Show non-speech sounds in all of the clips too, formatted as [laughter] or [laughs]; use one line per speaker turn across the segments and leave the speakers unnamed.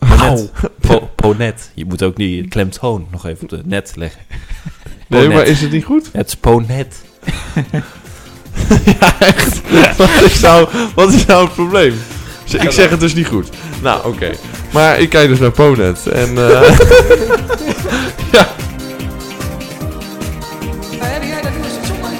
Ponet.
Po- ponet. Je moet ook die klemtoon nog even op de net
[laughs]
leggen.
Nee, maar
Ponet.
is het niet goed?
Het is ponet.
[laughs] ja, echt. Wat, is nou, wat is nou het probleem? Z- Ik zeg het dus niet goed. Nou, oké. Maar ik kijk dus naar Ponet. En eh, ja,
Heb jij dat nieuws verzonnen?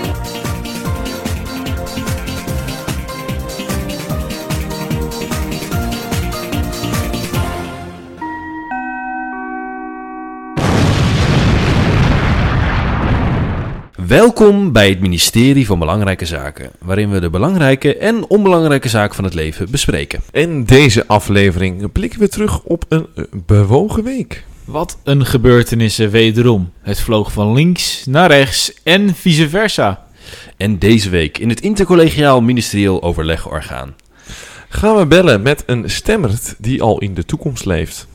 Welkom bij het ministerie van Belangrijke Zaken, waarin we de belangrijke en onbelangrijke zaken van het leven bespreken.
in deze aflevering blikken we terug op een eh, bewogen week.
Wat een gebeurtenissen wederom. Het vloog van links naar rechts en vice versa.
En deze week in het intercollegiaal ministerieel overlegorgaan.
Gaan we bellen met een stemmerd die al in de toekomst leeft.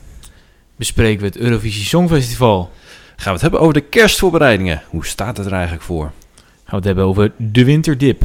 Bespreken we het Eurovisie Songfestival.
Gaan we het hebben over de kerstvoorbereidingen. Hoe staat het er eigenlijk voor?
Gaan we het hebben over de winterdip.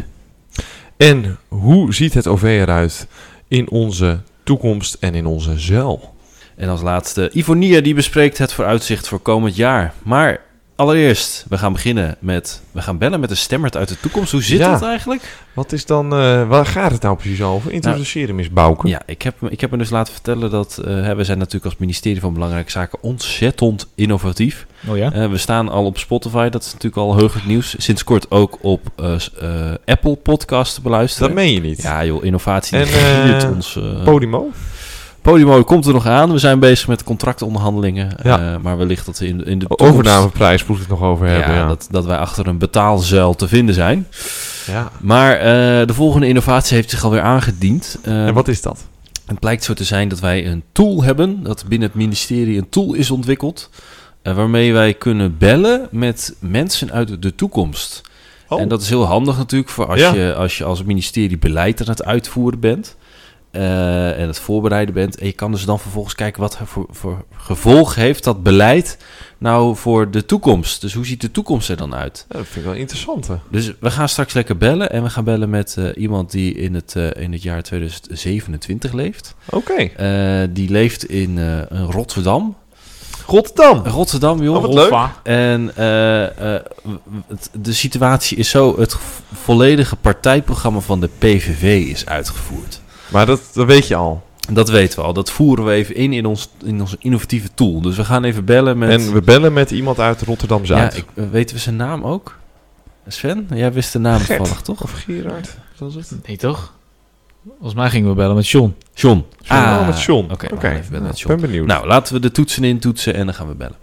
En hoe ziet het OV eruit in onze toekomst en in onze zeil?
En als laatste, Ivonia die bespreekt het vooruitzicht voor komend jaar. Maar allereerst, we gaan beginnen met... We gaan bellen met een stemmerd uit de toekomst. Hoe zit
Ja.
dat eigenlijk?
Wat is dan, eh, waar gaat het nou precies over? Introduceer hem eens, Bouke.
Ja, ik heb, me- ik heb me dus laten vertellen dat... eh, hè, we zijn natuurlijk als ministerie van Belangrijke Zaken ontzettend innovatief.
Oh ja?
Eh, we staan al op Spotify, dat is natuurlijk al heugelijk nieuws. Sinds kort ook op eh, s- eh, Apple Podcasts te beluisteren.
Dat meen je niet.
Ja joh, innovatie
En,
die giert
eh,
ons... eh,
Podimo?
Podimo komt er nog aan. We zijn bezig met contractonderhandelingen.
Ja.
Eh, maar wellicht dat in, in de toekomst...
Overnameprijs moet ik het nog over hebben.
ja,
Ja,
Dat, dat wij achter een betaalzuil te vinden zijn.
Ja.
Maar eh, de volgende innovatie heeft zich alweer aangediend. Eh,
En wat is dat?
Het blijkt zo te zijn dat wij een tool hebben, dat binnen het ministerie een tool is ontwikkeld, eh, waarmee wij kunnen bellen met mensen uit de toekomst.
Oh.
En dat is heel handig natuurlijk voor als,
Ja.
je, als je als ministerie beleid aan het uitvoeren bent. eh, en het voorbereiden bent. En je kan dus dan vervolgens kijken wat voor, voor gevolg heeft dat beleid nou voor de toekomst. Dus hoe ziet de toekomst er dan uit?
Ja, dat vind ik wel interessant. hè.
Dus we gaan straks lekker bellen en we gaan bellen met eh, iemand die in het, eh, in het jaar 2027 leeft.
Oké.
Eh, die leeft in eh, Rotterdam.
Rotterdam.
Rotterdam, joh.
Oh, wat leuk.
Hoffa.
En eh, eh, het- de situatie is zo: het v- volledige partijprogramma van de PVV is uitgevoerd.
Maar dat, dat weet je al.
Dat weten we al. Dat voeren we even in in, ons, in onze innovatieve tool. Dus we gaan even bellen met.
En we bellen met iemand uit Rotterdam-Zuid.
ja, ik, eh, weten we zijn naam ook? Sven, jij wist de naam
Gert.
toevallig, toch?
Of Gerard? Dat was het.
Nee toch? Volgens mij gingen we bellen met John.
John.
John, oh, met John.
Ah, Oké,
Oké.
we gaan even bellen
Nou,
met
ik
John.
ben benieuwd.
Nou, laten we de toetsen intoetsen en dan gaan we bellen.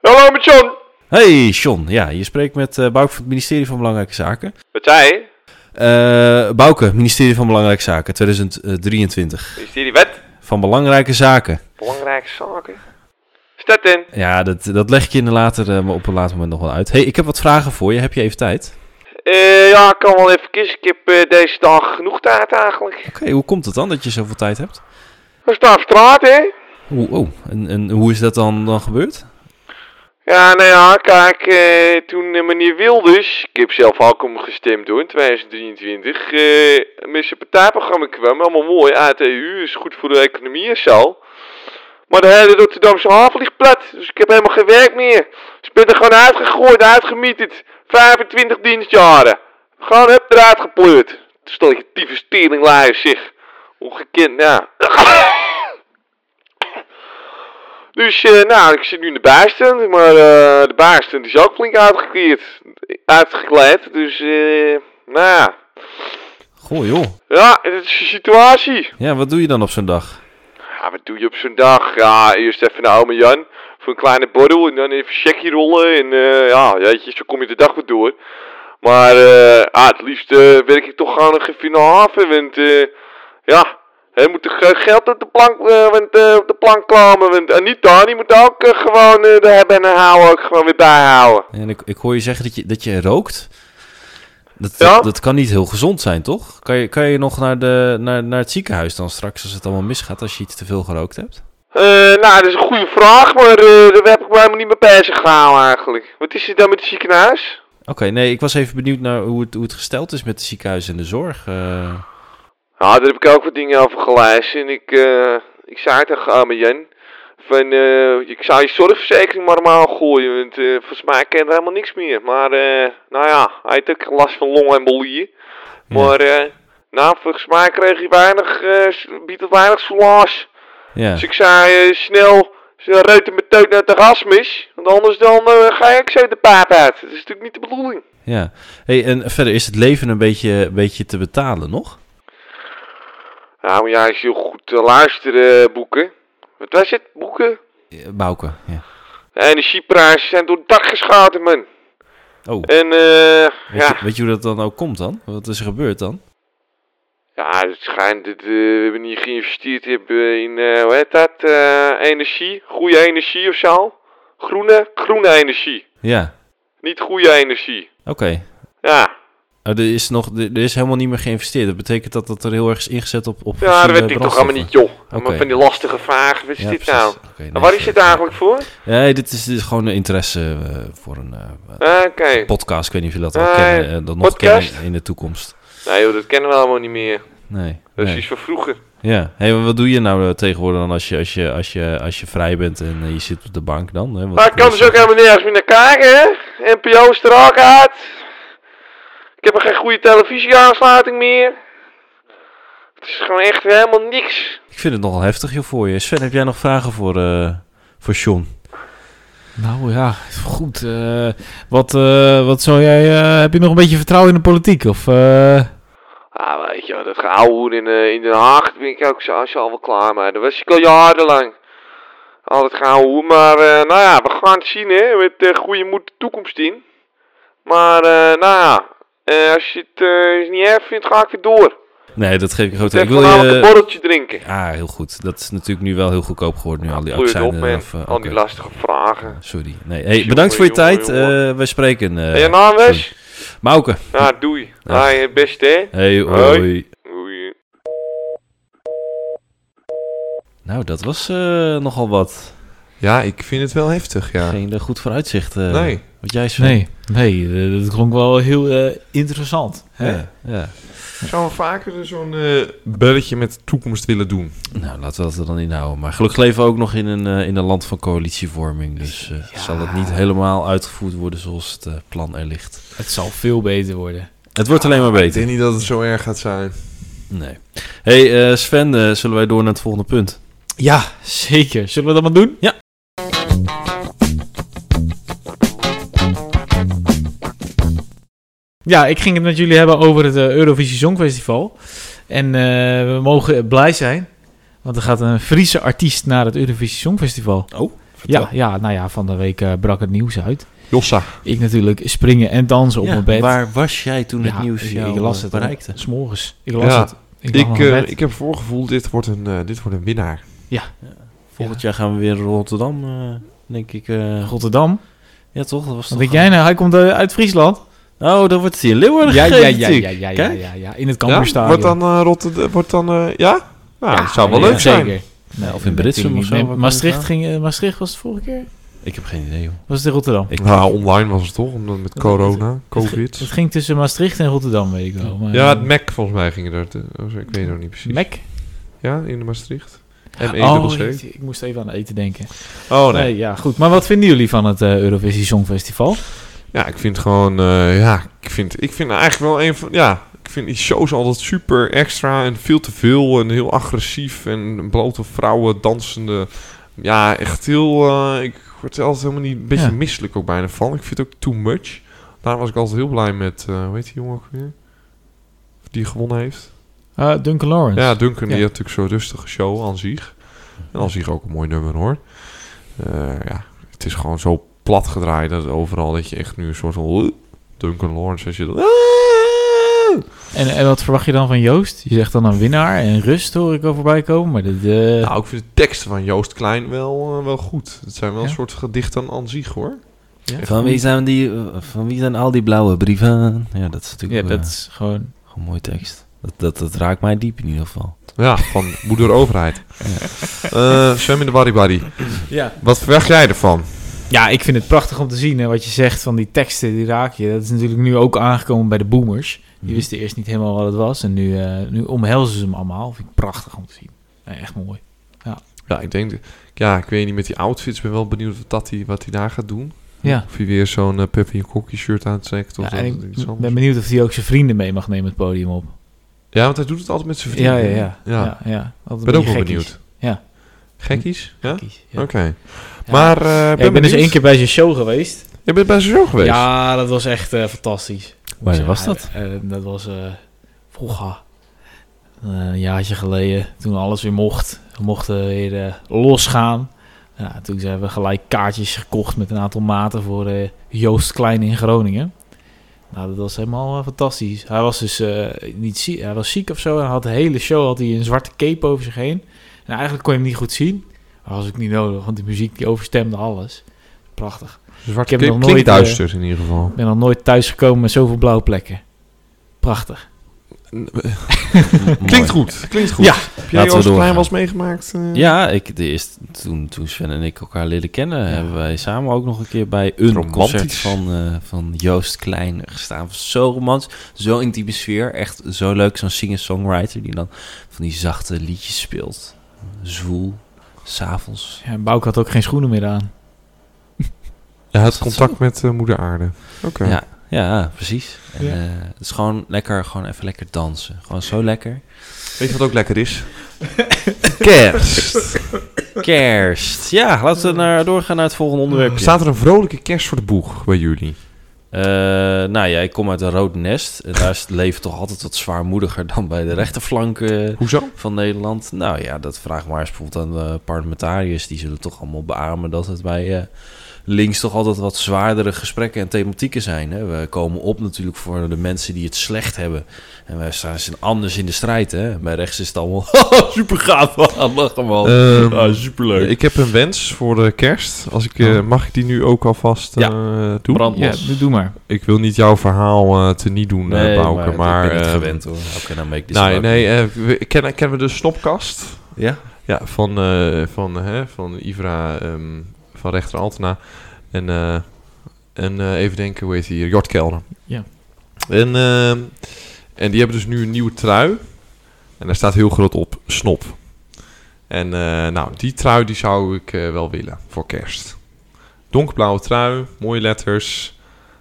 Hallo met John.
Hey, John. Ja, je spreekt met eh Bouke van het ministerie van Belangrijke Zaken.
Wat zei je?
Eh Bouke, ministerie van Belangrijke Zaken, 2023.
Is die die wet?
Van Belangrijke Zaken.
Belangrijke zaken. Stet in.
Ja, dat, dat leg ik je in een later, eh, maar op een later moment nog wel uit. hey, ik heb wat vragen voor je. Heb je even tijd?
Eh ja, ik kan wel even kiezen. Ik heb eh, deze dag genoeg tijd eigenlijk.
Oké, hoe komt het dan dat je zoveel tijd hebt?
We staan op straat, hè?
Oeh, oh, en, en hoe is dat dan, dan gebeurd?
Ja, nou ja, kijk, eh, toen eh, meneer Wilders, ik heb zelf ook om gestemd hoor, in 2023, eh, met zijn partijprogramma kwam, allemaal mooi, uit de EU, is goed voor de economie en zo. Maar de hele Rotterdamse haven ligt plat, dus ik heb helemaal geen werk meer. Ze ben er gewoon uitgegooid, uitgemieterd, 25 dienstjaren. Gewoon heb eruit gepleurd. Stel je tieve steringlaaier zich. Ongekend, nou. Dus, eh, nou, ik zit nu in de bijstand, maar eh, de bijstand is ook flink uitgekleed. Uitgekleed, dus, eh, nou ja.
Goh, joh.
Ja, dat is de situatie.
Ja, wat doe je dan op zo'n dag?
Ja, wat doe je op zo'n dag? Ja, eerst even naar oma Jan voor een kleine borrel en dan even een checkie rollen. En eh, ja, jeetje, zo kom je de dag weer door. Maar eh, ah, het liefst eh, werk ik toch gewoon nog even in de haven, want eh, ja, Hij moet toch, eh, geld op de plank, eh, want, eh, op de plank komen. Want Anita, die moet ook eh, gewoon eh, de hebben en houden, ook gewoon weer bijhouden.
En ik, ik hoor je zeggen dat je, dat je rookt. Dat,
Ja.
dat, dat kan niet heel gezond zijn, toch? Kan je, kan je nog naar, de, naar, naar het ziekenhuis dan straks als het allemaal misgaat als je iets te veel gerookt hebt?
Eh, nou, dat is een goede vraag, maar eh, daar heb ik me helemaal niet mee bezig gehouden eigenlijk. Wat is er dan met het ziekenhuis?
Oké, nee, ik was even benieuwd naar hoe het, hoe het gesteld is met het ziekenhuis en de zorg. eh.
Ja, Nou, daar heb ik ook wat dingen over gelezen. En ik, eh, ik zei tegen arme Jan, van, eh, ik zou je zorgverzekering maar maar gooien, want eh, volgens mij kent er helemaal niks meer. Maar, eh, nou ja, hij had ook last van longembolieën. Maar, eh, nou, volgens mij kreeg hij weinig, eh, s- biedt het weinig salaris.
ja.
Dus ik zei, eh, snel, reuten mijn teut naar het Erasmus, want anders dan eh, ga ik zo de paap uit. Dat is natuurlijk niet de bedoeling.
Ja. Hey, en verder is het leven een beetje, een beetje te betalen nog?
Nou, maar ja, als je goed eh, luistert, eh, boeken. Wat was het? Boeken?
Eh, Bouke, ja.
De energieprijzen zijn door het dak geschoten, man.
Oh,
En eh,
weet,
ja.
je, weet je hoe dat dan ook komt dan? Wat is er gebeurd dan?
ja, het schijnt dat eh, we hebben niet geïnvesteerd hebben in, eh, hoe heet dat, Eh, energie, goede energie of zo. Groene, groene energie,
Ja,
niet goede energie.
oké.
Ja,
Oh, er, is nog, er er is helemaal niet meer geïnvesteerd. Dat betekent dat dat er heel erg is ingezet op, op
ja dat
fossiele
weet ik toch allemaal
brandstoffen.
niet, joh.
Oké.
Maar van die lastige vragen, wat is
Ja,
dit
precies.
nou?
Oké, nee,
En waar is
sorry.
dit eigenlijk voor?
Nee, dit is, dit is gewoon een interesse eh, voor een eh,
Ah, Oké.
podcast. Ik weet niet of jullie dat al
Nee,
kennen, eh, dat nog
podcast?
kennen in de toekomst.
Nou joh, dat kennen we allemaal niet meer.
Nee.
Dat is
nee.
iets van vroeger.
Ja, hey, maar wat doe je nou eh, tegenwoordig dan als je, als je, als je, als je vrij bent en eh, je zit op de bank dan? Hè? Wat-
Maar ik kan
wat-
dus ook helemaal nergens meer naar kijken, hè? NPO is er ook uit. Ik heb er geen goede televisieaansluiting meer. Het is gewoon echt helemaal niks.
Ik vind het nogal heftig joh, voor je. Sven, heb jij nog vragen voor, eh, voor Sean?
Nou ja, goed. eh, wat, eh, wat zou jij... eh, heb je nog een beetje vertrouwen in de politiek? Of, eh,
Ah, weet je, wel, dat gehouden in, eh, in Den Haag, daar ben ik ook zo, zo al wel klaar mee. Dat was ik al jarenlang. Al dat gehouden, maar eh, nou ja, we gaan het zien, hè. Met eh, goede moed de toekomst in. Maar, eh, nou ja, eh, als je het eh, niet erg vindt, ga ik weer door.
Nee, dat geef ik groot.
Ik
Ik
wil
wil
namelijk een
je...
borreltje drinken.
Ah, heel goed. Dat is natuurlijk nu wel heel goedkoop geworden, nu al die
Goeie
accijns.
op, man.
eraf, eh,
Al die
oké. Eh,
lastige vragen.
Sorry. Nee. Hey, bedankt voor je
Jongen,
tijd.
jongen.
Eh, wij spreken. eh
En je naam
sorry.
is?
Mauke.
Nou, doei.
Ja.
Hai, het beste, hè?
Hey, hoi.
Hoi.
hoi.
Oei.
Nou, dat was eh, nogal wat.
Ja, ik vind het wel heftig, ja.
Geen eh, goed vooruitzicht. eh,
Nee.
Wat jij Sven.
nee, nee eh, dat klonk wel heel eh, interessant. Hè?
Ja, ja.
Zou we vaker zo'n eh, belletje met toekomst willen doen?
Nou, laten we dat er dan inhouden. Maar gelukkig leven we ook nog in een, eh, in een land van coalitievorming. Dus eh, zal dat niet helemaal uitgevoerd worden zoals het eh, plan er ligt.
Het zal veel beter worden.
Het wordt alleen maar
Ik
beter.
denk niet dat het zo erg gaat zijn.
Nee. hey, eh, Sven, eh, zullen wij door naar het volgende punt?
Ja, zeker. Zullen we dat maar doen? Ja, ik ging het met jullie hebben over het eh, Eurovisie Songfestival. En eh, we mogen blij zijn, want er gaat een Friese artiest naar het Eurovisie Songfestival.
Oh,
Ja, ja, nou ja, van de week eh, brak het nieuws uit.
Jossa.
Ik natuurlijk springen en dansen op mijn bed.
Waar was jij toen
Ja,
het nieuws
ik,
jou
ik las
eh,
het
bereikte?
om- 's morgens. Ik las
Ja,
het. Ik, lag
Ik,
op mijn
eh,
bed.
ik heb voorgevoel, dit wordt een, eh, dit wordt een winnaar.
Volgend jaar gaan we weer naar Rotterdam, eh, denk ik. eh.
Rotterdam.
ja, toch? Dat was
Wat
toch...
denk jij nou? Hij komt eh, uit Friesland.
Oh, dan wordt het hier Leeuwarden
Ja, ja, ja,
gegeven
ja, ja,
natuurlijk.
ja, ja,
Kijk.
ja, ja. In het
ja?
Kamperstadion.
Wordt dan eh Rotterdam... Wordt dan, eh, ja? Nou, dat zou wel
ja,
leuk zijn.
Zeker. Nee,
of in Britsum
natuurlijk
of zo,
niet.
waar kan
Maastricht,
het
ging, eh, Maastricht was het vorige keer?
Ik heb geen idee, joh.
Was het in Rotterdam?
Ik-
Nou, online was het toch? Omdat met corona,
Het,
covid.
ging tussen Maastricht en Rotterdam, weet ik wel. Maar,
Ja,
eh,
het Mac volgens mij ging er. te- oh, Ik weet het nog niet precies.
Mac?
Ja, in de Maastricht. m
Oh,
e
jeetje, ik moest even aan eten denken.
Oh
nee. ja, goed. Maar wat vinden jullie van het eh, Eurovisie Songfestival?
Ja, ik vind gewoon, eh, ja, ik vind, ik vind eigenlijk wel een van, ja, ik vind die shows altijd super extra en veel te veel en heel agressief en blote vrouwen dansende. Ja, echt heel, eh, ik word er altijd helemaal niet, een beetje
Ja.
misselijk ook bijna van. Ik vind het ook too much. Daar was ik altijd heel blij met, eh hoe heet die jongen ook weer? Die gewonnen heeft.
Eh, Duncan Lawrence.
Ja, Duncan
Ja.
die had natuurlijk zo'n rustige show aan zich. En aan zich ook een mooi nummer hoor. Eh, ja, het is gewoon zo plat gedraaid dat overal dat je echt nu een soort van... Duncan Lawrence als je dan...
En, en wat verwacht je dan van Joost? Je zegt dan een winnaar en rust hoor ik al voorbij komen. Maar dit, eh,
Nou, ik vind de teksten van Joost Klein wel, eh, wel goed. Het zijn wel
Ja.
een soort gedichten aan zich, hoor. Echt
Van
goed.
wie, zijn die, eh, van wie zijn al die blauwe brieven? Ja, dat is
ja,
natuurlijk
dat
eh,
is gewoon...
gewoon een mooie tekst. Dat, dat, dat raakt mij diep in ieder geval.
Ja, [laughs] van moeder overheid. Eh, zwem in de baribari.
Ja.
Wat verwacht jij ervan?
ja, ik vind het prachtig om te zien. Hè, wat je zegt van die teksten, die raak je. Dat is natuurlijk nu ook aangekomen bij de boomers. Die wisten eerst niet helemaal wat het was. En nu, eh, nu omhelzen ze hem allemaal. Vind ik prachtig om te zien. Ja, echt mooi.
Ja, ik denk... Ja, ik weet niet, met die outfits ben wel benieuwd wat, dat die, wat hij daar gaat doen.
Ja.
Of hij weer zo'n eh, Peppi en Kokkie shirt aantrekt of
Ja,
dat-
en
iets
ik
anders.
ben benieuwd of hij ook zijn vrienden mee mag nemen het podium op.
Ja, want hij doet het altijd met zijn
Ja,
vrienden.
ja, ja.
Ja.
ja, ja. Altijd
Ik ben
een
ook wel
beetje
benieuwd.
gekkies. Ja.
Gekkies? Ja? Oké.
Gekkies, ja. Ja.
Maar eh,
Ja,
ben
ik ben dus
benieuwd.
één keer bij zijn show geweest.
Je bent bij zijn show geweest?
Ja, dat was echt eh, fantastisch.
Waar
Ja,
was [laughs] dat?
eh, eh, dat was eh vroeger, eh, een jaartje geleden, toen alles weer mocht. We mochten weer eh, losgaan. Ja, toen hebben we gelijk kaartjes gekocht met een aantal maten voor eh, Joost Klein in Groningen. Nou, dat was helemaal eh, fantastisch. Hij was dus eh, niet ziek, hij was ziek of zo. En hij had de hele show had hij een zwarte cape over zich heen. En eigenlijk kon je hem niet goed zien. Maar dat was ook niet nodig, want die muziek die overstemde alles. Prachtig.
Zwart
Ik heb nog nooit, eh,
klinkt duister in ieder geval.
Ik ben nog nooit thuis gekomen met zoveel blauwe plekken. Prachtig.
Klinkt goed, klinkt goed.
Ja,
Heb
we
jij Joost
doorgaan.
Klein was meegemaakt? eh?
Ja, ik, de eerste, toen, toen Sven en ik elkaar leren kennen, hebben wij samen ook nog een keer bij een
Romantisch.
concert van, eh, van Joost Klein gestaan. Zo romantisch, zo intieme sfeer. Echt zo leuk, zo'n singer-songwriter die dan van die zachte liedjes speelt. Zwoel, s'avonds.
Ja, Bouke had ook geen schoenen meer aan.
Hij had
dat
contact met eh, moeder aarde. Oké.
Ja. Ja, precies. En,
Ja.
eh, het is gewoon lekker, gewoon even lekker dansen. Gewoon zo lekker.
Weet je wat ook lekker is? [laughs] Kerst.
Kerst. Ja, laten we naar, doorgaan naar het volgende onderwerp.
[laughs] Staat er een vrolijke kerst voor de boeg bij jullie?
Eh, nou ja, ik kom uit een rood nest. En daar is het leven toch altijd wat zwaarmoediger dan bij de rechterflank eh,
Hoezo?
van Nederland. Nou ja, dat vraag maar eens bijvoorbeeld aan de parlementariërs. Die zullen toch allemaal beamen dat het bij eh, links toch altijd wat zwaardere gesprekken en thematieken zijn. Hè? We komen op natuurlijk voor de mensen die het slecht hebben. En wij staan ze anders in de strijd. Hè? En Bij rechts is het allemaal [laughs] super [laughs] gaaf. Lachen man.
Ehm,
ah, superleuk.
Ik heb een wens voor de kerst. Als ik,
Oh.
eh, Mag ik die nu ook alvast eh, doen?
Brand
Ja,
los.
doe, doe maar.
Ik wil niet jouw verhaal te niet doen, eh, Bouke,
maar,
maar...
ik ben niet
eh,
gewend hoor. How can I make this
Nee,
work?
nee, eh, we- kennen, kennen we de snopkast?
Ja?
Ja, van, eh, van, hè, van Ivra ehm, van rechter Altena. En, eh, en eh, even denken, hoe heet hij hier? Jort Kelder.
Ja.
En, ehm, en die hebben dus nu een nieuwe trui. En daar staat heel groot op, snop. En eh, nou, die trui die zou ik eh, wel willen voor kerst. Donkerblauwe trui, mooie letters.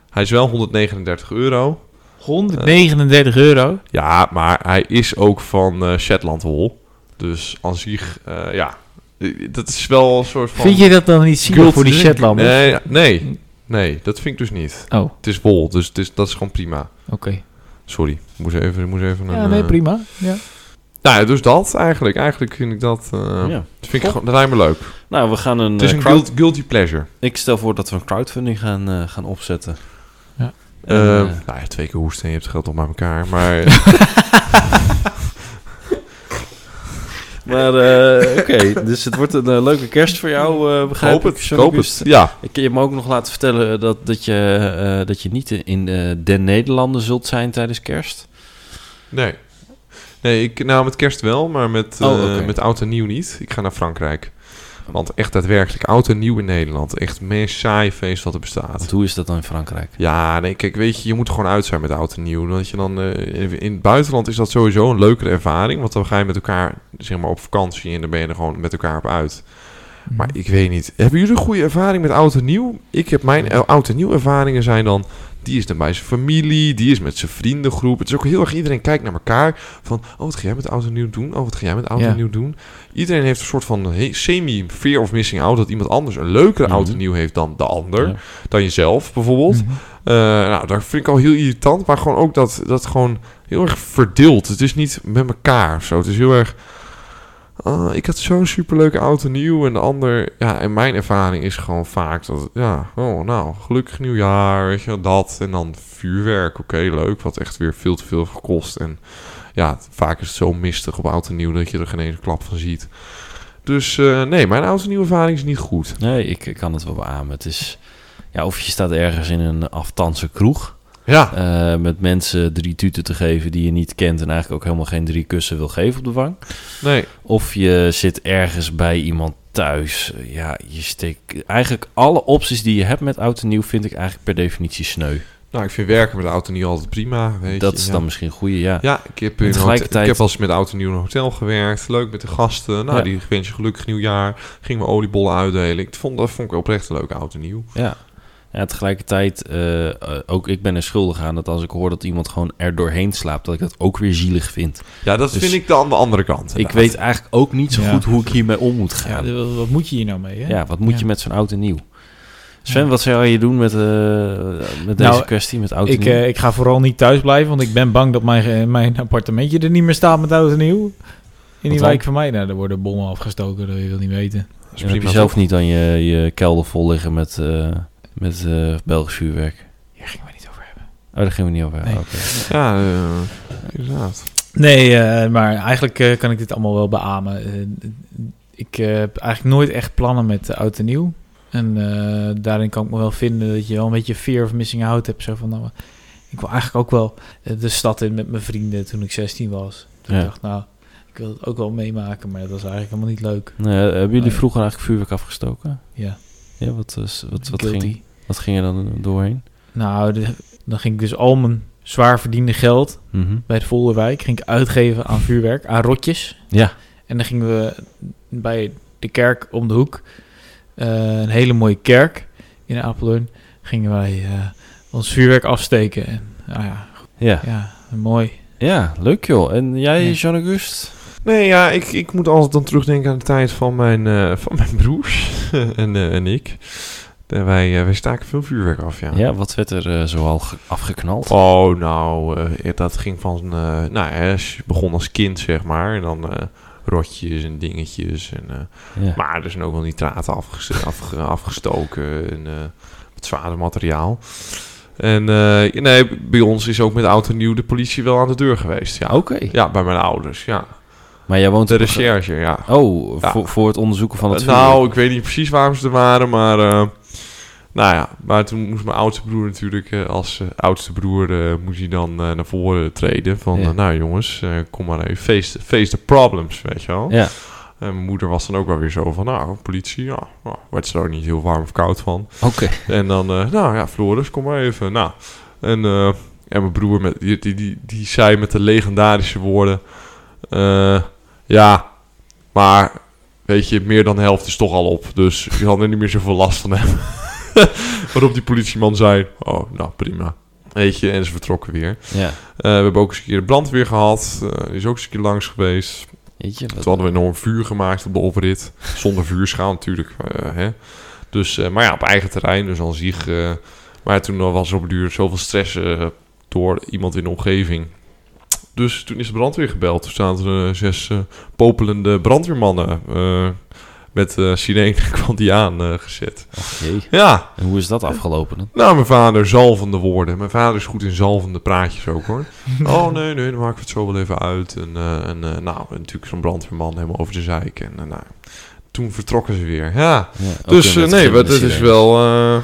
Hij is wel 139 euro.
139 euro.
Ja, maar hij is ook van eh Shetland Hol. Dus aan zich, eh, ja, eh, dat is wel een soort van...
Vind je dat dan niet zielig
Guilty
voor die
drink.
Shetlanders?
Nee, ja, nee, nee, dat vind ik dus niet.
Oh, oké.
Het is wol, dus het is, dat is gewoon prima. Sorry, moest even, moest even een...
Ja, nee,
eh,
prima. Ja.
Nou ja, dus dat eigenlijk. Eigenlijk vind ik dat... eh,
Ja.
dat, vind ik gewoon, dat lijkt me leuk.
Nou, we gaan een,
het is
eh,
een
crowd-
guilt- guilty pleasure.
Ik stel voor dat we een crowdfunding gaan, eh, gaan opzetten.
Ja.
En,
Eh,
eh,
nou ja, twee keer hoesten en je hebt het geld op bij elkaar. Maar
maar eh, oké, [laughs] dus het wordt een eh, leuke kerst voor jou, eh
eh,
begrijp
hoop
ik,
het,
Johnny
koop het.
Bust.
Ja,
Ik heb me ook nog laten vertellen dat, dat, je, eh, dat je niet in eh, den Nederlanden zult zijn tijdens kerst.
nee. Nee, ik, nou met kerst wel, maar met, eh,
Oh, oké. Oh.
met oud en nieuw niet. Ik ga naar Frankrijk. Want echt daadwerkelijk oud en nieuw in Nederland. Echt het meest saaie feest wat er bestaat.
Want hoe is dat dan in Frankrijk?
Ja, nee, kijk, weet je, je moet gewoon uit zijn met oud en nieuw. Want je dan, eh, in het buitenland is dat sowieso een leukere ervaring. Want dan ga je met elkaar, zeg maar, op vakantie en dan ben je er gewoon met elkaar op uit.
Mhm.
Maar ik weet niet. Hebben jullie een goede ervaring met oud en nieuw? Ik heb mijn eh, oud en nieuw ervaringen zijn dan... Die is dan bij zijn familie, die is met zijn vriendengroep. Het is ook heel erg, iedereen kijkt naar elkaar. Van, oh, wat ga jij met oud en nieuw doen? Oh, wat ga jij met oud
Ja.
en nieuw doen? Iedereen heeft een soort van he- semi-fear of missing out... dat iemand anders een leukere
Mhm.
oud en nieuw heeft dan de ander.
Ja.
Dan jezelf, bijvoorbeeld.
Mhm.
Eh, nou, dat vind ik al heel irritant. Maar gewoon ook dat dat gewoon heel erg verdeeld. Het is niet met elkaar of zo. Het is heel erg... ah, ik had zo'n superleuke auto nieuw. En de ander, ja, en mijn ervaring is gewoon vaak dat, ja, oh, nou, gelukkig nieuwjaar, weet je, wel, dat. En dan vuurwerk, oké, leuk, wat echt weer veel te veel gekost. En ja, vaak is het zo mistig op oud en nieuw dat je er geen ene klap van ziet. Dus eh, nee, mijn oud en nieuw ervaring is niet goed.
Nee, ik ik kan het wel beamen. Het is, ja, of je staat ergens in een aftanse kroeg
Ja,
eh, met mensen drie tuten te geven die je niet kent en eigenlijk ook helemaal geen drie kussen wil geven op de wang.
nee,
Of je zit ergens bij iemand thuis. Ja, je steekt eigenlijk alle opties die je hebt met oud en nieuw vind ik eigenlijk per definitie sneu.
nou, ik vind werken met oud en nieuw altijd prima, weet
Dat
je.
is
ja.
dan misschien een goede, ja.
Ja, ik heb, in een hotel-
tegelijkertijd-
ik heb als met oud en nieuw in een hotel gewerkt. Leuk met de gasten. Nou,
Ja.
die wens je gelukkig nieuwjaar. Ging mijn oliebollen uitdelen. Ik vond, dat vond ik oprecht leuk, oud en nieuw.
Ja. Ja, tegelijkertijd, eh, eh, ook ik ben er schuldig aan dat als ik hoor dat iemand gewoon er doorheen slaapt, dat ik dat ook weer zielig vind.
Ja, dat
Dus-
vind ik dan de andere kant.
Ik weet eigenlijk ook niet zo
Ja.
goed hoe ik hiermee om moet
Ja,
gaan. Ja,
d- wat moet je hier nou mee? Hè?
wat moet
Ja.
je met zo'n oud en nieuw? Sven, wat zou je doen met, eh, met deze
Nou,
kwestie, met oud en
Ik,
nieuw?
eh, ik ga vooral niet thuis blijven, want ik ben bang dat mijn, eh, mijn appartementje er niet meer staat met oud en nieuw. In die
dan?
wijk van mij, nou, er worden bommen afgestoken, dat wil je wel niet weten.
Dat
Dan
is
heb je
prima,
zelf
toch?
niet aan je, je kelder vol liggen met, eh, met eh, Belgisch vuurwerk.
Hier gingen we niet over hebben.
Oh, daar gaan we niet over.
Nee.
Oké.
Ja, eh, inderdaad.
Nee, eh, maar eigenlijk eh, kan ik dit allemaal wel beamen. Eh, ik eh, heb eigenlijk nooit echt plannen met eh, oud en nieuw. En eh, daarin kan ik me wel vinden dat je wel een beetje fear of missing out hebt. Zo van, nou, ik wil eigenlijk ook wel eh, de stad in met mijn vrienden toen ik 16 was. Toen
Ja.
ik dacht, nou, ik wil het ook wel meemaken, maar dat was eigenlijk helemaal niet leuk.
Nou, hebben jullie
Nee.
vroeger eigenlijk vuurwerk afgestoken?
Ja,
Ja, wat, is wat, wat,
guilty.
ging, wat ging er dan doorheen?
Nou, de- dan ging ik dus al mijn zwaar verdiende geld
Mhm.
bij het Volderwijk ging ik uitgeven aan vuurwerk, aan rotjes.
Ja.
En dan gingen we bij de kerk om de hoek, eh, een hele mooie kerk in Apeldoorn, gingen wij eh, ons vuurwerk afsteken. En, nou ja,
Ja.
ja, mooi.
ja, leuk joh. En jij,
Ja.
Jean-August?
Nee, ja, ik, ik moet altijd dan terugdenken aan de tijd van mijn, eh, van mijn broers [laughs] en, eh, en ik. En wij, eh, wij staken veel vuurwerk af, ja.
Ja. wat werd er eh, zoal ge- afgeknald?
Oh, nou, eh, dat ging van... eh, nou, hè, als je begon als kind, zeg maar. En dan eh, rotjes en dingetjes en... eh,
Ja.
Maar er zijn ook wel nitraten afges- afge- afgestoken en eh wat zwaarder materiaal. En eh, nee, bij ons is ook met oud en nieuw de politie wel aan de deur geweest. Ja,
Ah, Oké.
ja bij mijn ouders, ja.
Maar jij woont
De
in Brugge-
recherche, ja.
Oh,
Ja.
Voor, voor het onderzoeken van het
Eh,
vuurwerk.
nou, ik weet niet precies waarom ze er waren, maar... eh, nou ja, maar toen moest mijn oudste broer natuurlijk, eh, als eh, oudste broer, eh, moest hij dan eh, naar voren treden. Van,
Ja.
eh, nou jongens, eh, kom maar even, face, face the problems, weet je wel.
Ja.
En mijn moeder was dan ook wel weer zo van, nou, politie, ja, nou, werd ze er ook niet heel warm of koud van.
Oké.
En dan, eh, nou ja, Floris, kom maar even. Nou, en, eh, en mijn broer, met, die, die, die, die zei met de legendarische woorden... eh, ja, maar weet je, meer dan de helft is toch al op. Dus je had er niet meer zoveel last van hebben. [laughs] Waarop die politieman zei, oh, nou prima. Weet je, en ze vertrokken weer.
Ja.
Eh, we hebben ook eens een keer de brandweer gehad. Eh, die is ook eens een keer langs geweest.
Weet je, wat-
Toen hadden we enorm vuur gemaakt op de oprit. Zonder vuurschaal natuurlijk. eh, hè. Dus, eh, maar ja, op eigen terrein. Dus aan zich... eh, maar toen was er op het duur zoveel stress eh, door iemand in de omgeving. Dus toen is de brandweer gebeld. Toen zaten er eh, zes eh, popelende brandweermannen... eh, met eh sirene [laughs] kwam die aan eh, gezet.
Ach, jee.
Ja,
En hoe is dat afgelopen dan?
nou, mijn vader zalvende woorden. Mijn vader is goed in zalvende praatjes ook,
[laughs]
hoor. oh, nee, nee, dan maken we het zo wel even uit. En, eh, en eh, nou, en natuurlijk zo'n brandweerman helemaal over de zeik. En eh, nou, toen vertrokken ze weer. Ja,
Ja, ook
dus
weer
eh,
met
nee, maar
gillende
dat is
sirenes.
wel... eh,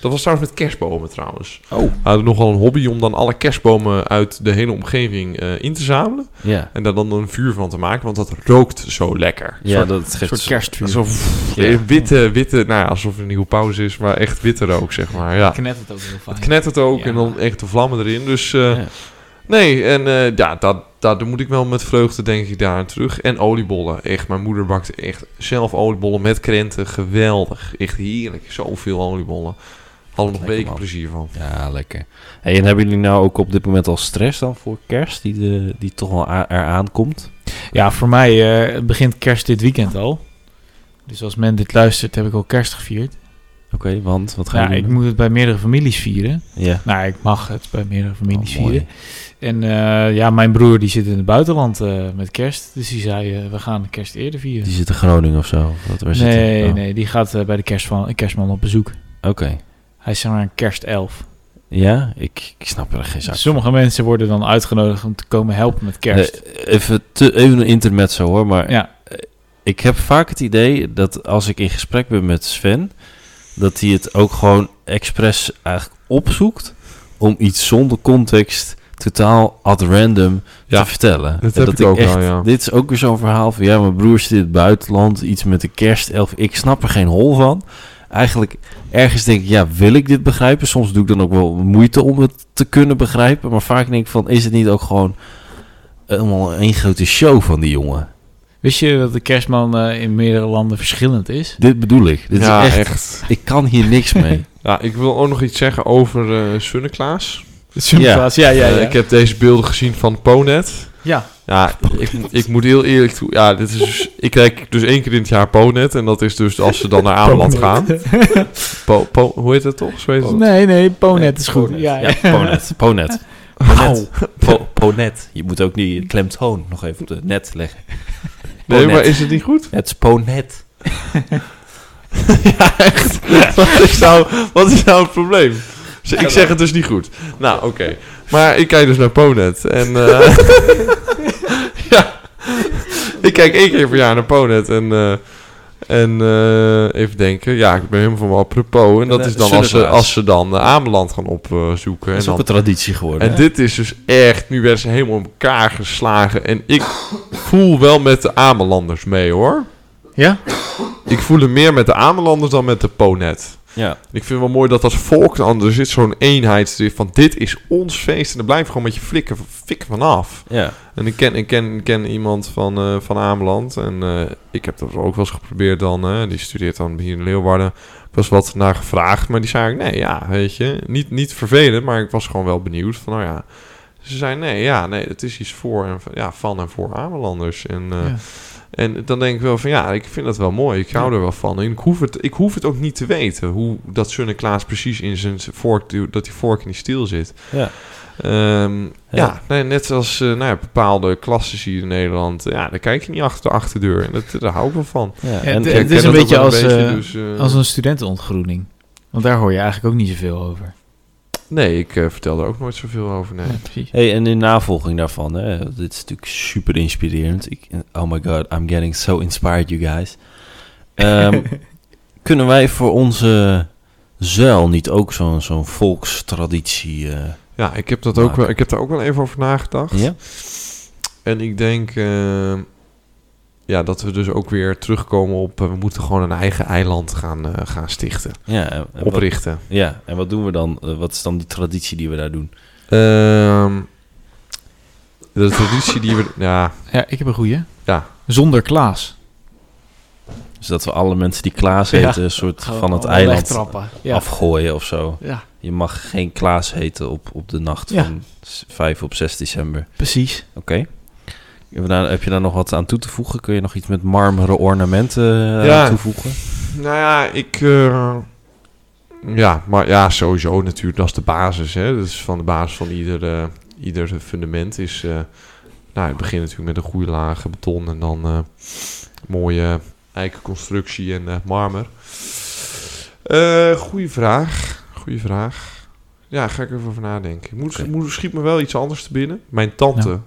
dat was trouwens met kerstbomen, trouwens.
Oh.
We hadden nogal een hobby om dan alle kerstbomen uit de hele omgeving eh, in te zamelen.
Ja.
En daar dan een vuur van te maken, want dat rookt zo lekker.
Ja, dat geeft
soort kerstvuur.
Zo
Ja.
witte, witte, nou ja, alsof er een nieuwe pauze is, maar echt witte rook, zeg maar. Ja.
Ik net het ook heel fijn.
Het knettert ook
Ja.
en dan echt de vlammen erin. Dus eh,
Ja.
nee, en eh, ja, dat, dat, daar moet ik wel met vreugde denk ik daar aan terug. En oliebollen, echt. Mijn moeder bakte echt zelf oliebollen met krenten. Geweldig, echt heerlijk. Zoveel oliebollen. Hadden we nog
Lekker,
weken
man.
plezier van.
Ja, lekker. Hey, en hebben jullie nou ook op dit moment al stress dan voor kerst, die, de, die toch wel a- eraan komt?
Ja, voor mij eh, begint kerst dit weekend al. Dus als men dit luistert, heb ik al kerst gevierd.
want wat ga je
Ja, ik
doen?
moet het bij meerdere families vieren.
Ja.
Nou, ik mag het bij meerdere families
Oh, mooi.
vieren. En eh, ja, mijn broer die zit in het buitenland eh, met kerst. Dus die zei, eh, we gaan kerst eerder vieren.
Die zit in Groningen of zo? Of wat, waar zit
nee,
hij? Oh,
nee, die gaat eh, bij de kerstman, kerstman op bezoek.
Oké.
Hij is zeg maar een kerstelf.
Ja, ik, ik snap er geen zak
Sommige mensen worden dan uitgenodigd om te komen helpen met kerst.
Eh, even, te, even een intermezzo hoor, maar
Ja.
eh, ik heb vaak het idee dat als ik in gesprek ben met Sven, dat hij het ook gewoon expres eigenlijk opzoekt om iets zonder context totaal ad random
Ja,
te vertellen.
dat
En
heb ik ook wel, ja.
Dit is ook weer zo'n verhaal van, ja, mijn broer zit in het buitenland, iets met de kerstelf. Ik snap er geen hol van. Eigenlijk ergens denk ik, ja, wil ik dit begrijpen? Soms doe ik dan ook wel moeite om het te kunnen begrijpen. Maar vaak denk ik van, is het niet ook gewoon helemaal één grote show van die jongen?
Wist je dat de kerstman eh, in meerdere landen verschillend [laughs] is?
Dit bedoel ik. Dit
ja,
is echt,
echt.
Ik kan hier niks mee.
Ja, ik wil ook nog iets zeggen over eh Sunneklaas.
Ja, ja, ja.
Eh,
ja.
ik heb deze beelden gezien van Ponet.
ja.
Ja, ik, ik moet heel eerlijk toe. Ja, dit is dus- ik kijk dus één keer in het jaar Ponet. En dat is dus als ze dan naar Ameland gaan.
[laughs]
Po, po- hoe heet dat toch? Zo heet het.
Nee, nee, Ponet is goed. Ja, ja.
Ja, Ponet. Ponet. Ponet. [laughs] Po- Ponet. Je moet ook die klemtoon nog even op de net leggen.
Nee,
Ponet.
maar is het niet goed?
Het is Ponet.
Ja, [laughs] echt. Wat, is nou, wat is nou het probleem? Z- Ik zeg het dus niet goed. Nou, oké. Maar ik kijk dus naar Ponet. En [laughs] eh, ja, ik kijk één keer per jaar naar Ponet. En, eh, en eh, even denken. Ja, ik ben helemaal van mijn apropos. En dat
eh,
is dan als ze,
Sunderland.
als ze dan eh, Ameland gaan opzoeken.
Dat
en
is
dan
ook een traditie geworden.
en dit is dus echt, nu werden ze helemaal in elkaar geslagen. En ik voel wel met de Amelanders mee hoor.
Ja?
Ik voel er meer met de Amelanders dan met de Ponet.
ja.
Ik vind het wel mooi dat als volk dan, er zit zo'n eenheid van dit is ons feest. En daar blijf je gewoon met je flikken, fikken vanaf.
ja.
En ik ken, ik ken, ik ken iemand van, eh, van Ameland. En eh, ik heb dat ook wel eens geprobeerd dan. eh, die studeert dan hier in Leeuwarden. was wat naar gevraagd. Maar die zei ik, nee, ja, weet je. Niet, niet vervelend, maar ik was gewoon wel benieuwd. Van, nou ja. Ze zei, nee, ja, nee, het is iets voor en, van- ja, van en voor Amelanders. En, eh,
Ja.
en dan denk ik wel van, ja, ik vind dat wel mooi. Ik hou er wel van. En ik hoef het, ik hoef het ook niet te weten. Hoe dat Sunneklaas precies in zijn vork, dat die vork in die stiel zit.
Ja.
Ehm,
Ja.
ja, nee, net als eh, nou ja, bepaalde klassen hier in Nederland. Ja, daar kijk je niet achter de achterdeur. En dat, daar hou ik wel van.
Ja,
en-
en,
Ik
Het is
ken
een
dat ook
beetje
wel
als, eh,
dus, eh,
Als een studentenontgroening. Want daar hoor je eigenlijk ook niet zoveel over.
Nee, ik eh, vertel er ook nooit zoveel over. Nee.
Ja, precies.
hey, en in navolging daarvan, hè, dit is natuurlijk super inspirerend. Ik, oh my god, I'm getting so inspired, you guys. Ehm, kunnen wij voor onze zuil niet ook zo'n zo'n volkstraditie... eh,
Ja, ik heb, dat ook
Nou,
Maken.
wel, ik heb daar ook wel even over nagedacht.
ja?
En ik denk eh, ja, dat we dus ook weer terugkomen op... eh, we moeten gewoon een eigen eiland gaan, eh, gaan stichten.
Ja, en- en wat,
Oprichten.
ja, en wat doen we dan? Eh, Wat is dan die traditie die we daar doen?
Ehm, de traditie die we... Ja,
Ja, ik heb een goeie.
Ja.
Zonder Klaas.
Dus dat we alle mensen die Klaas
Ja.
heten, een soort van het eiland
Wegtrappen. Ja.
afgooien of zo.
ja,
Je mag geen Klaas heten op, op de nacht
Ja.
van s- 5 op 6 december.
precies.
Oké. Hebben we daar- Heb je daar nog wat aan toe te voegen? Kun je nog iets met marmeren ornamenten eh,
Ja.
aan toevoegen?
Nou ja, ik. eh, ja, maar ja, sowieso natuurlijk. Dat is de basis. Hè? Dat is van de basis van ieder, eh, ieder fundament. Is, eh, nou, het begint natuurlijk met een goede lage beton en dan eh, mooie eikenconstructie en eh, marmer. Eh goeie vraag. Goeie vraag. Ja, ga ik even over nadenken. Ik Moet,
Oké.
moet, schiet me wel iets anders te binnen. Mijn tante
Nou.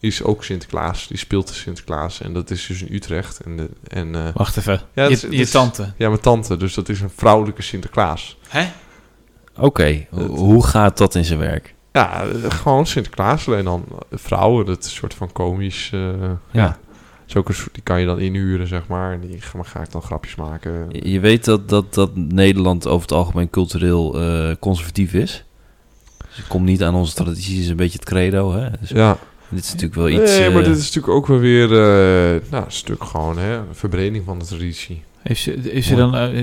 is ook Sinterklaas. Die speelt de Sinterklaas. En dat is dus in Utrecht. En, de, en eh,
Wacht even.
Ja,
je,
het is- het
je
is-
tante.
ja, mijn tante. Dus dat is een vrouwelijke Sinterklaas.
Hè?
Oké, ho- hoe gaat dat in zijn werk?
Ja, eh, gewoon Sinterklaas. Alleen dan vrouwen. Dat is een soort van komisch. eh, ja. Is ook een soort, die kan je dan inhuren, zeg maar. En die ga, ga ik dan grapjes maken.
Je je weet dat, dat, dat Nederland over het algemeen cultureel eh, conservatief is. Dus het komt niet aan onze tradities, is een beetje het credo. Hè? Dus
Ja.
Dit is natuurlijk wel iets...
nee, maar
eh,
dit is natuurlijk ook wel weer eh, nou, een stuk gewoon, hè. Een verbreding van de traditie.
Heeft ze, heeft ze dan... eh,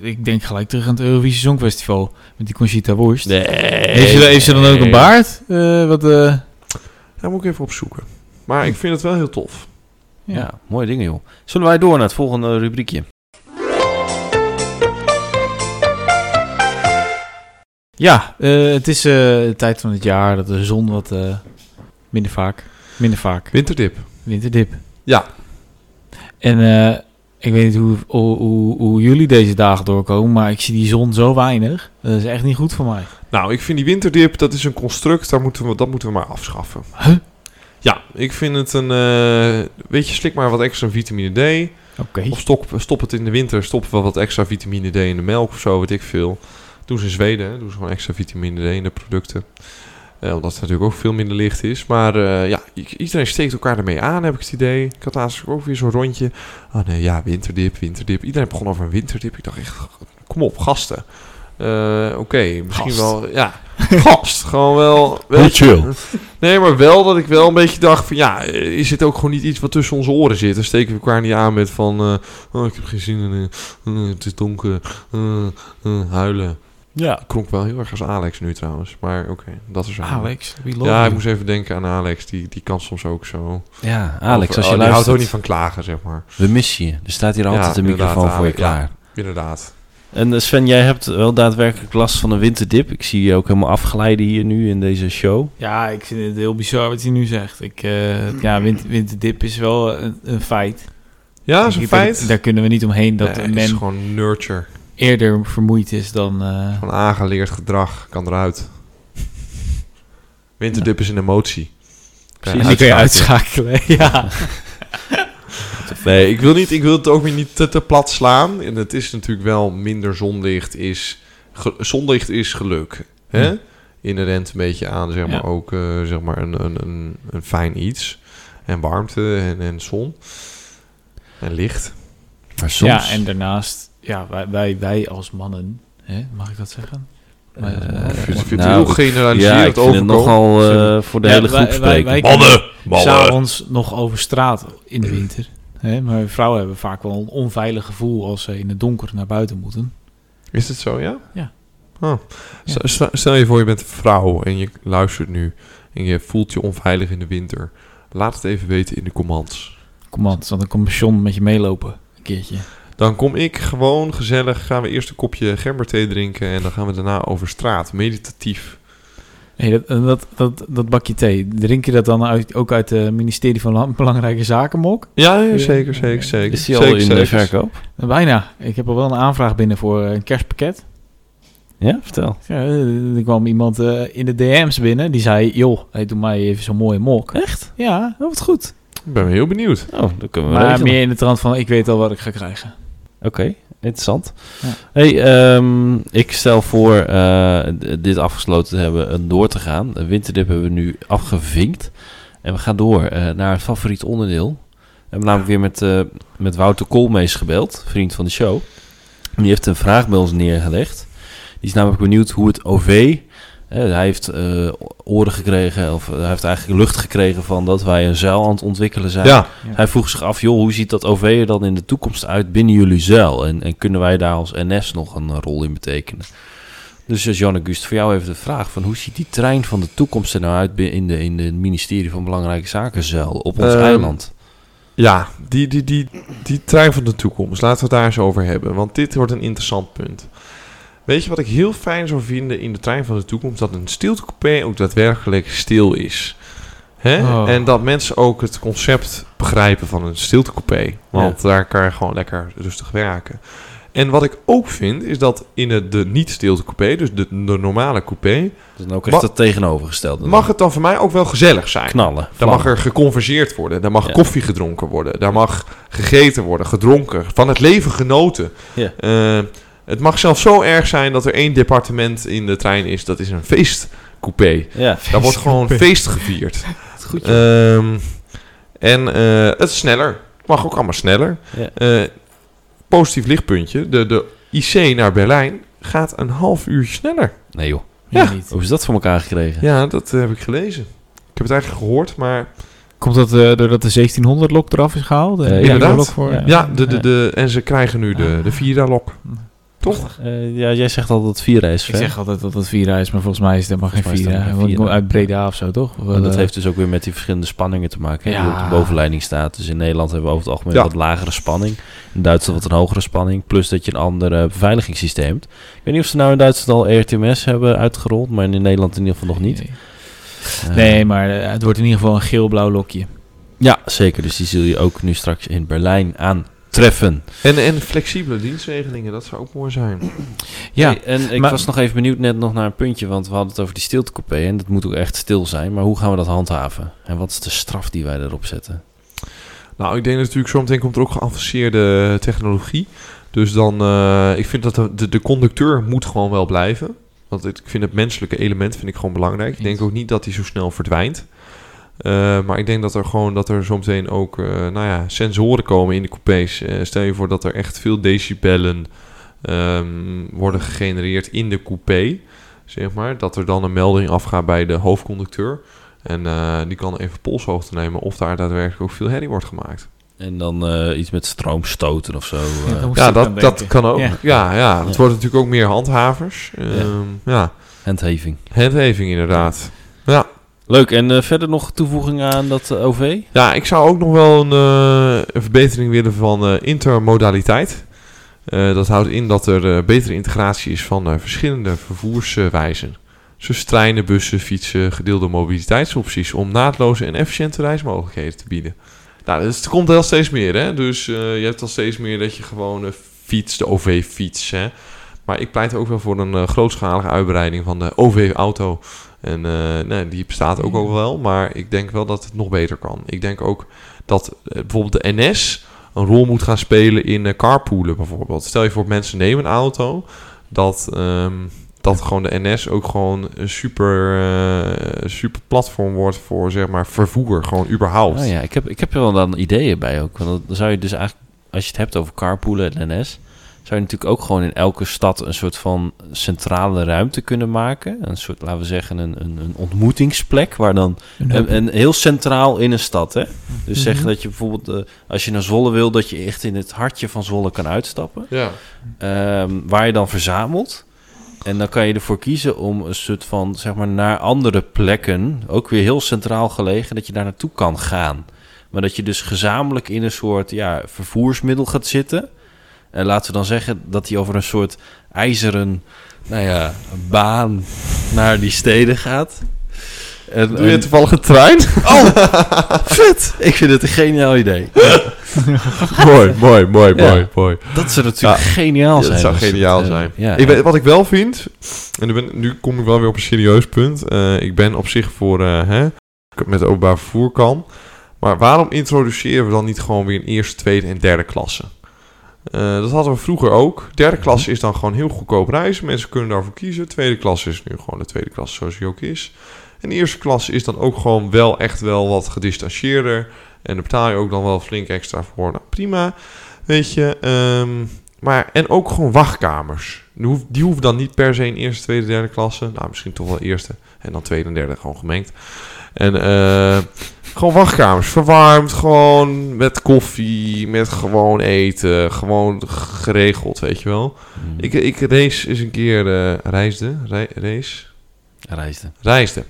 ik denk gelijk terug aan het Eurovisie Songfestival. Met die Conchita Wurst.
Nee.
Heeft, ze, heeft ze dan ook een baard? Eh, wat, eh,
Daar moet ik even opzoeken. Maar ik vind het wel heel tof.
Ja. mooie dingen joh. Zullen wij door naar het volgende rubriekje?
Ja, eh, het is eh, de tijd van het jaar dat de zon wat eh, minder vaak, minder vaak,
Winterdip.
winterdip.
Ja.
En eh, ik weet niet hoe, hoe, hoe, hoe jullie deze dagen doorkomen, maar ik zie die zon zo weinig. Dat is echt niet goed voor mij.
Nou, ik vind die winterdip, dat is een construct, daar moeten we, dat moeten we maar afschaffen.
Huh?
Ja, ik vind het een... eh, weet je, slik maar wat extra vitamine D.
Oké.
Of stop, stop het in de winter, stop wel wat extra vitamine D in de melk of zo, weet ik veel. Doen ze in Zweden, hè, doen ze gewoon extra vitamine D in de producten. Eh, omdat het natuurlijk ook veel minder licht is. Maar eh, ja, i- iedereen steekt elkaar ermee aan, heb ik het idee. Ik had laatst ook weer zo'n rondje. Oh nee, ja, winterdip, winterdip. Iedereen begon over een winterdip. Ik dacht echt, kom op, gasten. Eh, Oké, misschien
Gast.
wel, ja. Gast, gewoon wel.
Heel
weet je.
chill.
Nee, maar wel dat ik wel een beetje dacht van... ja, eh, is dit ook gewoon niet iets wat tussen onze oren zit? Dan steken we elkaar niet aan met van... eh, oh, ik heb geen zin in... eh, eh, het is donker. eh, eh, huilen.
Ja.
Klonk wel heel erg als Alex nu trouwens. Maar oké, dat is... waar.
Alex, wie loopt?
Ja, ik moest even denken aan Alex. Die, die kan soms ook zo...
Ja, Alex,
Of,
als
oh,
je
Die houdt ook
luistert,
niet van klagen, zeg maar.
we missen je. Er staat hier
Ja,
altijd een
inderdaad,
microfoon voor je
Alex, ja.
klaar.
Inderdaad.
En eh, Sven, jij hebt wel daadwerkelijk last van een winterdip. Ik zie je ook helemaal afglijden hier nu in deze show.
Ja, ik vind het heel bizar wat hij nu zegt. Ik, eh, ja, win- winterdip is wel een, een feit.
Ja, Ah, is een
Ik-
feit.
Daar kunnen we niet omheen dat
Nee,
men
is gewoon nurture.
eerder vermoeid is dan... eh,
Gewoon aangeleerd gedrag. Kan eruit. Winterdip is een emotie. Kan
die kun je [laughs] uitschakelen. ja.
Nee, ik wil, niet, ik wil het ook weer niet te, te plat slaan. En het is natuurlijk wel minder zonlicht is... ge- zonlicht is geluk. Hè?
Ja.
Inherent een beetje aan, zeg maar,
Ja.
ook eh, zeg maar een, een, een, een fijn iets. En warmte en, en zon. En licht.
Maar soms...
ja, en daarnaast, ja, wij, wij, wij als mannen, hè, mag ik dat zeggen? Wij als mannen.
Eh,
Ik vind het
nou,
heel generaliserend
ja, ik vind het
overkomen.
nogal eh, voor de
Ja,
hele
wij-
groep
wij-
spreken.
wij-
Mannen! Mannen!
s'avonds nog over straat in de winter. Hè? Maar vrouwen hebben vaak wel een onveilig gevoel als ze in het donker naar buiten moeten.
Is het zo, ja?
Ja.
Oh. S- sta- Stel je voor, je bent een vrouw en je luistert nu... en je voelt je onveilig in de winter. Laat het even weten in de comments.
Kom aan, dan komt John met je meelopen een keertje.
Dan kom ik gewoon gezellig. Gaan we eerst een kopje gemberthee drinken. En dan gaan we daarna over straat. Meditatief.
Hey, dat, en dat, dat, dat bakje thee, drink je dat dan uit, ook uit het ministerie van Lan- Belangrijke Zaken mok?
Ja, ja,
Ja.
zeker, zeker, zeker.
Is die al
Zeker,
in de
zeker.
verkoop?
Eh, Bijna. Ik heb al wel een aanvraag binnen voor eh, een kerstpakket.
Ja, vertel.
Ja, eh, er kwam iemand eh, in de DM's binnen die zei: Joh, hey, doe mij even zo'n mooie mok.
Echt?
Ja,
Oh, wat goed.
Ik ben heel benieuwd.
Oh, dan kunnen we
maar
regelen.
meer in de trant van: Ik weet al wat ik ga krijgen.
Oké, interessant.
Ja.
Hey, ehm, ik stel voor eh, d- dit afgesloten te hebben en door te gaan. De winterdip hebben we nu afgevinkt. En we gaan door eh, naar het favoriet onderdeel. We hebben namelijk weer met, eh, met Wouter Koolmees gebeld, vriend van de show. Die heeft een vraag bij ons neergelegd. Die is namelijk benieuwd hoe het OV... eh, hij heeft eh, oren gekregen, of hij heeft eigenlijk lucht gekregen van dat wij een zeil aan het ontwikkelen zijn.
Ja,
Hij vroeg zich af, joh, hoe ziet dat OV er dan in de toekomst uit binnen jullie zeil? En, en kunnen wij daar als NS nog een eh, rol in betekenen? Dus eh, Jean Auguste, voor jou even de vraag van hoe ziet die trein van de toekomst er nou uit bi- in de, in de ministerie van Belangrijke Zaken zeil op ons
Ehm,
eiland?
ja die, die, die, die trein van de toekomst. Laten we het daar eens over hebben. Want dit wordt een interessant punt. Weet je wat ik heel fijn zou vinden in de trein van de toekomst? Dat een stiltecoupé ook daadwerkelijk stil is. Hè?
Oh.
En dat mensen ook het concept begrijpen van een stiltecoupé. Want daar kan je gewoon lekker rustig werken. En wat ik ook vind, is dat in het, de niet-stiltecoupé, dus de, de normale coupé...
Dus dan ook echt
ma-
het tegenovergestelde.
mag het dan voor mij ook wel gezellig zijn.
knallen?
Daar
vlammen.
mag er geconverseerd worden. Daar mag
Ja.
koffie gedronken worden. Daar mag gegeten worden, gedronken. Van het leven genoten.
Ja.
Eh, het mag zelfs zo erg zijn dat er één departement in de trein is. Dat is een feestcoupé.
Ja,
Daar wordt gewoon feest
[laughs]
gevierd.
goed.
Ehm, en eh, het is sneller. Het mag ook allemaal sneller.
Ja.
Eh, positief lichtpuntje. De, de IC naar Berlijn gaat een half uur sneller.
Nee joh,
Ja.
Meer niet.
hoe is dat voor elkaar gekregen?
Ja, dat eh, heb ik gelezen. Ik heb het eigenlijk gehoord, maar
Komt dat eh, doordat de 1700-lok eraf is gehaald?
Eh,
Heb je
inderdaad.
er lok voor?
Ah. Ja, de, de, de, en ze krijgen nu de, de Vira-lok. Toch?
Eh, ja, jij zegt altijd dat het Vira is,
Ik
Sven.
zeg altijd dat het Vira is, maar volgens mij is dat maar geen
Volgens mij is dat
Vira.
geen
Want ik
Vira.
kom uit Breda of zo, toch? Of,
Maar dat
eh,
heeft dus ook weer met die verschillende spanningen te maken. hè, Die
Ja.
op de bovenleiding staat. Dus in Nederland hebben we over het algemeen
Ja.
wat lagere spanning. In Duitsland wat een hogere spanning. Plus dat je een ander eh, beveiligingssysteem hebt. Ik weet niet of ze nou in Duitsland al ERTMS hebben uitgerold. Maar in Nederland in ieder geval nog niet.
Nee,
Eh,
Nee, maar eh, het wordt in ieder geval een geel-blauw lokje.
Ja, zeker. Dus die zul je ook nu straks in Berlijn aantreffen.
En, en flexibele dienstregelingen, dat zou ook mooi zijn.
Ja,
Hey, en ik
maar-
was nog even benieuwd net nog naar een puntje. Want we hadden het over die stiltecoupé. En dat moet ook echt stil zijn. Maar hoe gaan we dat handhaven? En wat is de straf die wij erop zetten?
Nou, ik denk natuurlijk, zometeen komt er ook geavanceerde technologie. Dus dan, eh, ik vind dat de, de, de conducteur moet gewoon wel blijven. Want het- ik vind het menselijke element vind ik gewoon belangrijk. Ik denk ook niet dat hij zo snel verdwijnt. Eh, maar ik denk dat er gewoon dat er zometeen ook eh, nou ja, sensoren komen in de coupés. Eh, stel je voor dat er echt veel decibellen ehm, worden gegenereerd in de coupé. Zeg maar, dat er dan een melding afgaat bij de hoofdconducteur. En eh, die kan even polshoogte nemen of daar daadwerkelijk ook veel herrie wordt gemaakt.
En dan eh, iets met stroomstoten of zo. eh.
daar moest
Ja,
ik aan
dat, dat
denken.
kan ook. Ja,
Ja.
ja,
Ja.
het worden natuurlijk ook meer handhavers. Ehm, ja.
Handheving.
handheving inderdaad.
Leuk, en eh, verder nog toevoeging aan dat eh, OV?
Ja, ik zou ook nog wel een, eh, een verbetering willen van eh, intermodaliteit. Eh, dat houdt in dat er eh, betere integratie is van eh, verschillende vervoerswijzen. Zoals treinen, bussen, fietsen, gedeelde mobiliteitsopties om naadloze en efficiënte reismogelijkheden te bieden. Nou, dus het komt wel steeds meer, hè? Dus eh, je hebt al steeds meer dat je gewoon eh, fietst, de OV-fiets, hè? Maar ik pleit ook wel voor een eh, grootschalige uitbreiding van de OV-auto. En eh, nee, die bestaat ook al wel, maar ik denk wel dat het nog beter kan. Ik denk ook dat eh, bijvoorbeeld de NS een rol moet gaan spelen in eh, carpoolen bijvoorbeeld. Stel je voor mensen nemen een auto, dat, ehm, dat gewoon de NS ook gewoon een super, eh, super platform wordt voor zeg maar vervoer, gewoon überhaupt.
Oh ja, ik heb, ik heb er wel dan ideeën bij ook. Want dan zou je dus eigenlijk, als je het hebt over carpoolen en NS, zou je natuurlijk ook gewoon in elke stad een soort van centrale ruimte kunnen maken. Een soort, laten we zeggen, een, een, een ontmoetingsplek waar dan En, en heel centraal in een stad, hè? Dus zeg
Mhm.
dat je bijvoorbeeld, eh, als je naar Zwolle wil, dat je echt in het hartje van Zwolle kan uitstappen.
Ja.
Ehm, waar je dan verzamelt. En dan kan je ervoor kiezen om een soort van, zeg maar, naar andere plekken, ook weer heel centraal gelegen, dat je daar naartoe kan gaan. Maar dat je dus gezamenlijk in een soort ja, vervoersmiddel gaat zitten. En laten we dan zeggen dat die over een soort ijzeren nou ja, baan naar die steden gaat. En,
Doe je
en-
toevallig een trein? [laughs]
Vet! Ik vind het een geniaal idee.
mooi, mooi, mooi,
Ja.
mooi, mooi.
Dat zou natuurlijk geniaal
Ja,
zijn.
dat zou
als
geniaal
eh,
zijn.
Ja,
Ik weet, wat ik wel vind, en nu, ben, nu kom ik wel weer op een serieus punt. eh, ik ben op zich voor eh, hè, ik het met openbaar vervoer kan. Maar waarom introduceren we dan niet gewoon weer een eerste, tweede en derde klasse? Eh, dat hadden we vroeger ook. Derde klasse is dan gewoon heel goedkoop reizen. Mensen kunnen daarvoor kiezen. Tweede klasse is nu gewoon de tweede klasse zoals die ook is. En de eerste klasse is dan ook gewoon wel echt wel wat gedistantieerder. En daar betaal je ook dan wel flink extra voor. Nou, prima. Weet je. ehm, maar, en ook gewoon wachtkamers. Die hoef- Die hoeven dan niet per se in eerste, tweede, derde klasse. Nou, misschien toch wel eerste. En dan tweede en derde gewoon gemengd. En eh, gewoon wachtkamers. Verwarmd, gewoon met koffie, met gewoon eten. Gewoon geregeld, weet je wel.
mm,
Ik, ik race is een keer... eh, reisde? Re- race?
reisde.
Reisde.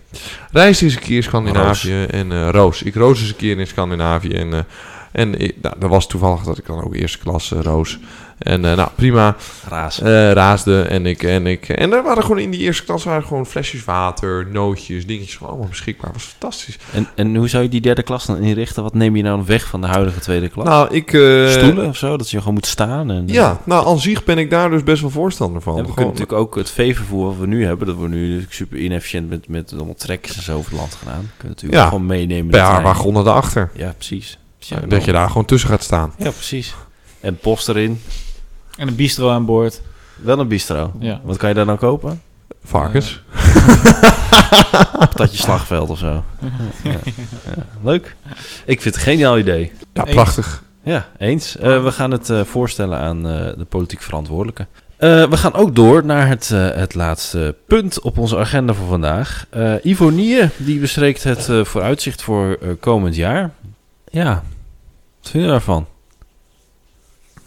Reisde is een keer in Scandinavië en eh, Roos. Ik roos eens een keer in Scandinavië en, eh, en ik- nou, dat was toevallig dat ik dan ook eerste klasse roos. En eh, nou, prima.
Razen.
Eh, raasde en ik en ik. En er waren gewoon in die eerste klas waren gewoon flesjes water, nootjes, dingetjes gewoon allemaal beschikbaar. was fantastisch.
En, en hoe zou je die derde klas dan inrichten? Wat neem je nou weg van de huidige tweede klas?
Nou, ik... eh,
Stoelen of zo? Dat je gewoon moet staan? En,
Ja, nou, aan zich ben ik daar dus best wel voorstander van.
En we kunnen
Gewoon-
natuurlijk ook het veevervoer wat we nu hebben, dat wordt nu natuurlijk super inefficiënt met, met allemaal trekkers en zo over het land gedaan. Kunnen we natuurlijk
Ja.
gewoon meenemen. in de
per
trein.
wagon erachter.
Ja, precies.
achter dat je daar gewoon tussen gaat staan.
Ja, precies. En post erin.
En een bistro aan boord.
Wel een bistro.
Ja.
Wat kan je daar nou kopen?
Varkens.
Patatje slagveld of zo. Ja. Ja. Leuk. Ik vind het een geniaal idee.
Ja, prachtig.
Ja, eens. Eh, we gaan het eh, voorstellen aan eh, de politiek verantwoordelijke. Eh, we gaan ook door naar het, eh, het laatste punt op onze agenda voor vandaag. Eh Ivo Nieuwe, die bestreekt het eh, vooruitzicht voor eh, komend jaar. Ja, wat vind je daarvan?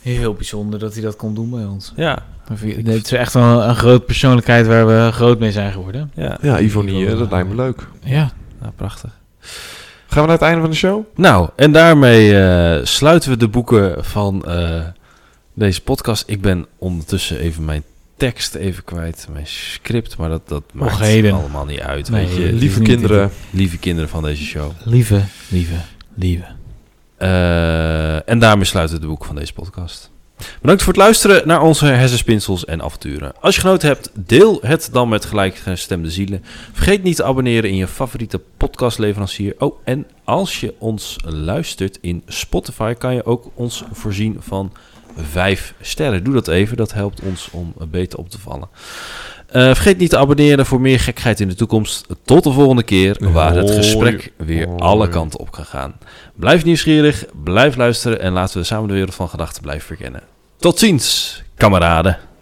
Heel bijzonder dat hij dat kon doen bij ons.
Ja,
Het is echt wel een, groot persoonlijkheid waar we groot mee zijn geworden.
ja.
Ja, Ivonie, eh, dat lijkt me leuk.
Ja.
Nou, prachtig.
Gaan we naar het einde van de show?
Nou, en daarmee eh, sluiten we de boeken van eh, deze podcast. Ik ben ondertussen even mijn tekst even kwijt, mijn script, maar dat, dat maakt
heden.
allemaal niet uit.
Nee,
weet
Eh,
je,
li-
Lieve
niet
kinderen,
lieve kinderen van deze show.
Lieve, lieve, lieve.
Eh, en daarmee sluiten we het boek van deze podcast. Bedankt voor het luisteren naar onze hersenspinsels en avonturen. Als je genoten hebt, deel het dan met gelijkgestemde zielen. Vergeet niet te abonneren in je favoriete podcastleverancier. Oh, en als je ons luistert in Spotify, kan je ook ons voorzien van vijf sterren. Doe dat even, dat helpt ons om beter op te vallen. Eh, vergeet niet te abonneren voor meer gekheid in de toekomst. Tot de volgende keer, waar het
Hoi.
gesprek weer
Hoi.
alle kanten op kan gaan. Blijf nieuwsgierig, blijf luisteren en laten we samen de wereld van gedachten blijven verkennen. Tot ziens, kameraden.